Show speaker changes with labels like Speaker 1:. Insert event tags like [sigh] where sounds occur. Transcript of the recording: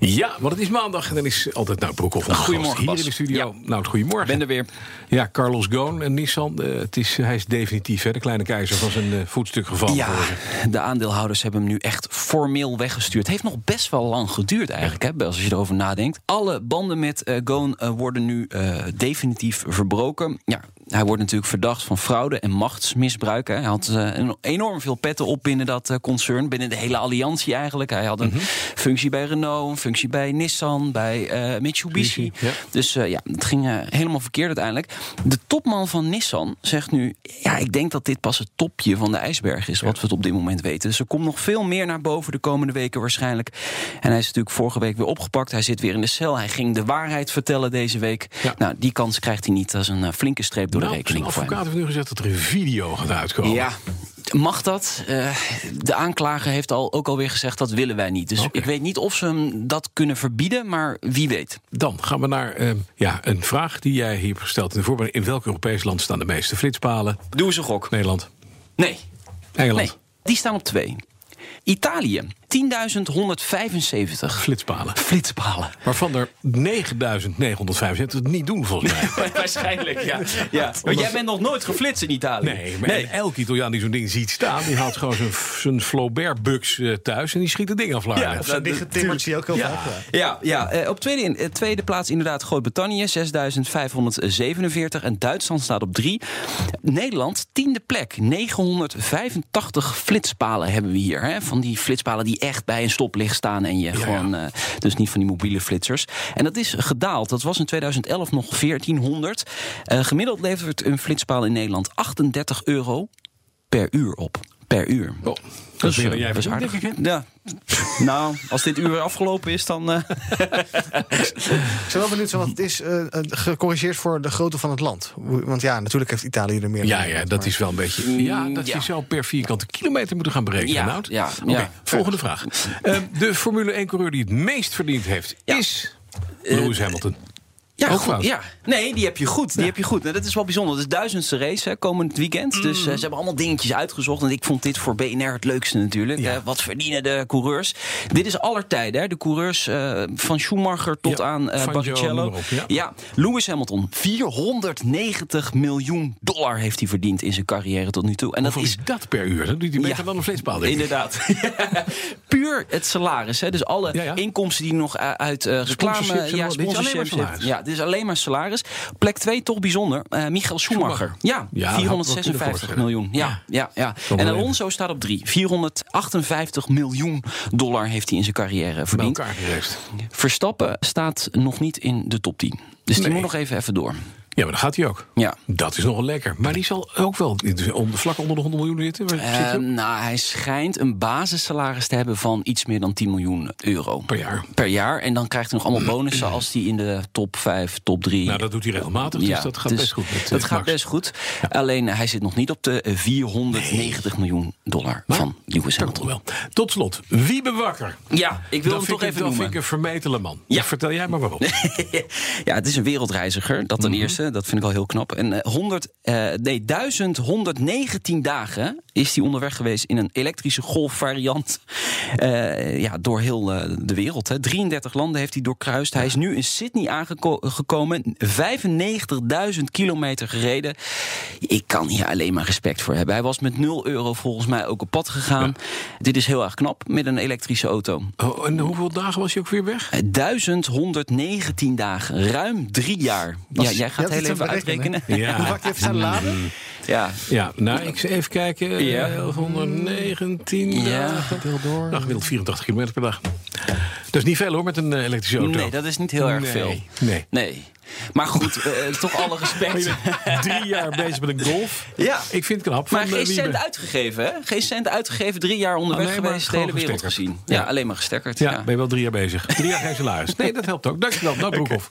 Speaker 1: Ja, want het is maandag en dan is altijd nou, Nout Broekhoff. onze
Speaker 2: Goedemorgen,
Speaker 1: gast Hier
Speaker 2: Bas.
Speaker 1: in de studio. Nout, goedemorgen.
Speaker 2: ben er weer.
Speaker 1: Ja, Carlos Ghosn en Nissan. eh, het is, hij is definitief hè, de kleine keizer van zijn eh, voetstuk gevallen.
Speaker 2: Ja,
Speaker 1: geworden.
Speaker 2: de aandeelhouders hebben hem nu echt formeel weggestuurd. Het heeft nog best wel lang geduurd eigenlijk, hè, Bas, als je erover nadenkt. Alle banden met eh Goon eh, worden nu eh, definitief verbroken. Ja, hij wordt natuurlijk verdacht van fraude en machtsmisbruik. Hè. Hij had eh, een- enorm veel petten op binnen dat eh, concern, binnen de hele alliantie eigenlijk. Hij had een functie bij Renault, een functie bij Nissan, bij eh, Mitsubishi.
Speaker 1: Ja.
Speaker 2: Dus eh, ja, het ging eh, helemaal verkeerd uiteindelijk. De topman van Nissan zegt nu... ja, ik denk dat dit pas het topje van de ijsberg is... wat we het op dit moment weten. Dus er komt nog veel meer naar boven de komende weken waarschijnlijk. En hij is natuurlijk vorige week weer opgepakt. Hij zit weer in de cel. Hij ging de waarheid vertellen deze week.
Speaker 1: Ja.
Speaker 2: Nou, die kans krijgt hij niet. Dat is een eh, flinke streep door
Speaker 1: Nou,
Speaker 2: de rekening voor
Speaker 1: Zijn
Speaker 2: hem.
Speaker 1: advocaat heeft nu gezegd dat er een video gaat uitkomen.
Speaker 2: Ja. Mag dat? Eh, de aanklager heeft al, ook alweer gezegd dat willen wij niet. Dus
Speaker 1: Oké.
Speaker 2: ik weet niet of ze hem dat kunnen verbieden, maar wie weet.
Speaker 1: Dan gaan we naar eh, ja, een vraag die jij hier hebt gesteld in de voorbereiding. In welk Europees land staan de meeste flitspalen?
Speaker 2: Doe eens een gok.
Speaker 1: Nederland.
Speaker 2: Nee,
Speaker 1: Engeland.
Speaker 2: Nee, die staan op twee. Italië, 10.175
Speaker 1: Flitspalen.
Speaker 2: flitspalen.
Speaker 1: Waarvan er 9.975 het niet doen
Speaker 2: [laughs]
Speaker 1: volgens mij.
Speaker 2: Waarschijnlijk, ja. ja. Maar
Speaker 1: Omdat-
Speaker 2: jij bent nog nooit geflitst in Italië.
Speaker 1: Nee, maar en elk Italiaan die zo'n ding ziet staan, die haalt gewoon zijn, zijn Flaubert-buks eh, thuis en die schiet het ding af. Lara.
Speaker 2: Ja,
Speaker 3: Of zijn dichtgetimmerd zie je ook heel
Speaker 2: Ja,
Speaker 3: vaak. ja.
Speaker 2: ja, ja. Eh, op tweede, in, eh, tweede plaats inderdaad Groot-Brittannië, 6.547. En Duitsland staat op drie. Nederland, tiende plek, 985 flitspalen hebben we hier. Hè? Van die flitspalen die echt bij een stoplicht staan en je gewoon... eh, dus niet van die mobiele flitsers. En dat is gedaald. Dat was in 2011 nog 1400. Eh, gemiddeld levert een flitspaal in Nederland 38 euro per uur op. Per uur.
Speaker 1: Oh, dat is meer dan
Speaker 2: eh,
Speaker 1: jij
Speaker 2: dat is
Speaker 1: verdient,
Speaker 2: aardig.
Speaker 1: denk ik, hè?
Speaker 2: Ja. [laughs] nou, als dit uur afgelopen is, dan. eh,
Speaker 3: Ik ben wel benieuwd, want het is eh, eh, gecorrigeerd voor de grootte van het land. Want ja, natuurlijk heeft Italië er meer.
Speaker 1: Ja, ja,
Speaker 3: dan Nederland,
Speaker 1: dat
Speaker 3: maar-
Speaker 1: is wel een beetje. Ja, dat
Speaker 2: Mm, ja.
Speaker 1: je zo per vierkante kilometer moet gaan berekenen.
Speaker 2: Ja,
Speaker 1: Nout.
Speaker 2: ja,
Speaker 1: Oké,
Speaker 2: ja.
Speaker 1: Volgende vraag. Eh, de Formule 1-coureur die het meest verdiend heeft
Speaker 2: Ja. Eh,
Speaker 1: is. Lewis Hamilton.
Speaker 2: ja,
Speaker 1: Ook
Speaker 2: goed,
Speaker 1: fout.
Speaker 2: ja, nee, die heb je goed. Die heb je goed. Nou, dat is wel bijzonder. Het is duizendste race hè, komend weekend. Dus eh, ze hebben allemaal dingetjes uitgezocht. En ik vond dit voor BNR het leukste natuurlijk. hè. wat verdienen de coureurs? Dit is aller tijden. Hè. De coureurs eh, van Schumacher tot
Speaker 1: Ja,
Speaker 2: aan eh
Speaker 1: Fangio, noem
Speaker 2: Barrichello.
Speaker 1: maar op, ja.
Speaker 2: Ja, Lewis Hamilton. 490 miljoen dollar heeft hij verdiend in zijn carrière tot nu toe. En
Speaker 1: Hoeveel
Speaker 2: dat is
Speaker 1: is dat per uur? Dat doet hij beter
Speaker 2: Ja.
Speaker 1: dan een flitspaal. denk ik. [laughs]
Speaker 2: Inderdaad. [laughs] Puur het salaris. Hè? Dus alle
Speaker 1: Ja, ja.
Speaker 2: inkomsten die nog eh, uit eh reclame...
Speaker 1: Sponsorships en al- dit is alleen maar salaris.
Speaker 2: Ja, dit is alleen maar salaris. Plek 2, toch bijzonder. eh Michael Schumacher.
Speaker 1: Schumacher. Ja,
Speaker 2: Ja,
Speaker 1: dat had ik wel kunnen
Speaker 2: 456
Speaker 1: voorstellen.
Speaker 2: miljoen. Ja, ja, ja.
Speaker 1: wel
Speaker 2: En
Speaker 1: even.
Speaker 2: Alonso staat op 3. 458 miljoen dollar heeft hij in zijn carrière
Speaker 1: Bij
Speaker 2: verdiend.
Speaker 1: elkaar gereest.
Speaker 2: Verstappen staat nog niet in de top 10. Dus die
Speaker 1: Nee.
Speaker 2: moet nog even, even door.
Speaker 1: Ja, maar dan gaat hij ook.
Speaker 2: Ja.
Speaker 1: Dat is nogal lekker. Maar die zal ook wel om, vlak onder de 100 miljoen zitten. Waar zit hij
Speaker 2: Eh,
Speaker 1: op?
Speaker 2: nou, hij schijnt een basissalaris te hebben van iets meer dan 10 miljoen euro.
Speaker 1: per jaar.
Speaker 2: per jaar. En dan krijgt hij nog allemaal bonussen als hij in de top 5, top 3.
Speaker 1: Nou, dat doet hij regelmatig, dus dat gaat best goed. met, eh,
Speaker 2: dat gaat
Speaker 1: Max.
Speaker 2: best goed. Alleen eh, hij zit nog niet op de eh, 490 miljoen dollar
Speaker 1: Maar
Speaker 2: van Lewis
Speaker 1: dat komt
Speaker 2: Hamilton.
Speaker 1: wel. Tot slot, Wiebe Wakker.
Speaker 2: Ja, ik
Speaker 1: dat vind
Speaker 2: wil hem toch
Speaker 1: ik,
Speaker 2: even
Speaker 1: dat
Speaker 2: noemen.
Speaker 1: vind ik een vermetele man.
Speaker 2: Ja.
Speaker 1: Vertel jij maar waarom.
Speaker 2: ja, het is een wereldreiziger. Dat ten eerste. Dat vind ik al heel knap. En eh, 100, eh, nee, 1119 dagen is hij onderweg geweest in een elektrische golfvariant. eh, ja, door heel eh, de wereld. Hè. 33 landen heeft hij doorkruist. Hij is nu in Sydney aangekomen. 95.000 kilometer gereden. Ik kan hier alleen maar respect voor hebben. Hij was met 0 euro volgens mij ook op pad gegaan. Dit is heel erg knap met een elektrische auto.
Speaker 1: [laughs] Oh, en hoeveel dagen was je ook weer weg?
Speaker 2: 1119 dagen, ruim drie jaar. Ja,
Speaker 3: is-
Speaker 2: jij gaat
Speaker 3: ja,
Speaker 2: heel
Speaker 3: dat is
Speaker 2: even
Speaker 3: te berekenen,
Speaker 2: uitrekenen. [laughs]
Speaker 3: Hoe vaak heeft
Speaker 1: Mm.
Speaker 3: zijn laden?
Speaker 2: Ja.
Speaker 1: Ja, nou, ik zal even kijken. eh,
Speaker 2: Ja.
Speaker 1: 1119.
Speaker 2: Ja.
Speaker 1: dagen. Nou, gemiddeld 84 kilometer per dag. Dat is niet veel hoor, met een eh, elektrische auto.
Speaker 2: Nee, dat is niet heel erg
Speaker 1: Nee,
Speaker 2: veel.
Speaker 1: nee.
Speaker 2: nee. Maar goed, eh, toch alle
Speaker 1: [laughs] Maar
Speaker 2: respect.
Speaker 1: je bent drie jaar bezig met een golf.
Speaker 2: [laughs] Ja.
Speaker 1: Ik vind het knap.
Speaker 2: Maar
Speaker 1: van, eh,
Speaker 2: geen
Speaker 1: Wiebe.
Speaker 2: cent uitgegeven, hè? Geen cent uitgegeven, drie jaar onderweg
Speaker 1: Alleen Ah, maar
Speaker 2: geweest, de
Speaker 1: gewoon
Speaker 2: hele wereld
Speaker 1: gestekkerd.
Speaker 2: gezien. Ja,
Speaker 1: Ja.
Speaker 2: alleen maar gestekkerd.
Speaker 1: Ja,
Speaker 2: ja.
Speaker 1: ben je wel drie jaar bezig. Drie jaar geen salaris. Nee, dat helpt ook. Dankjewel, Nou Broekhoff.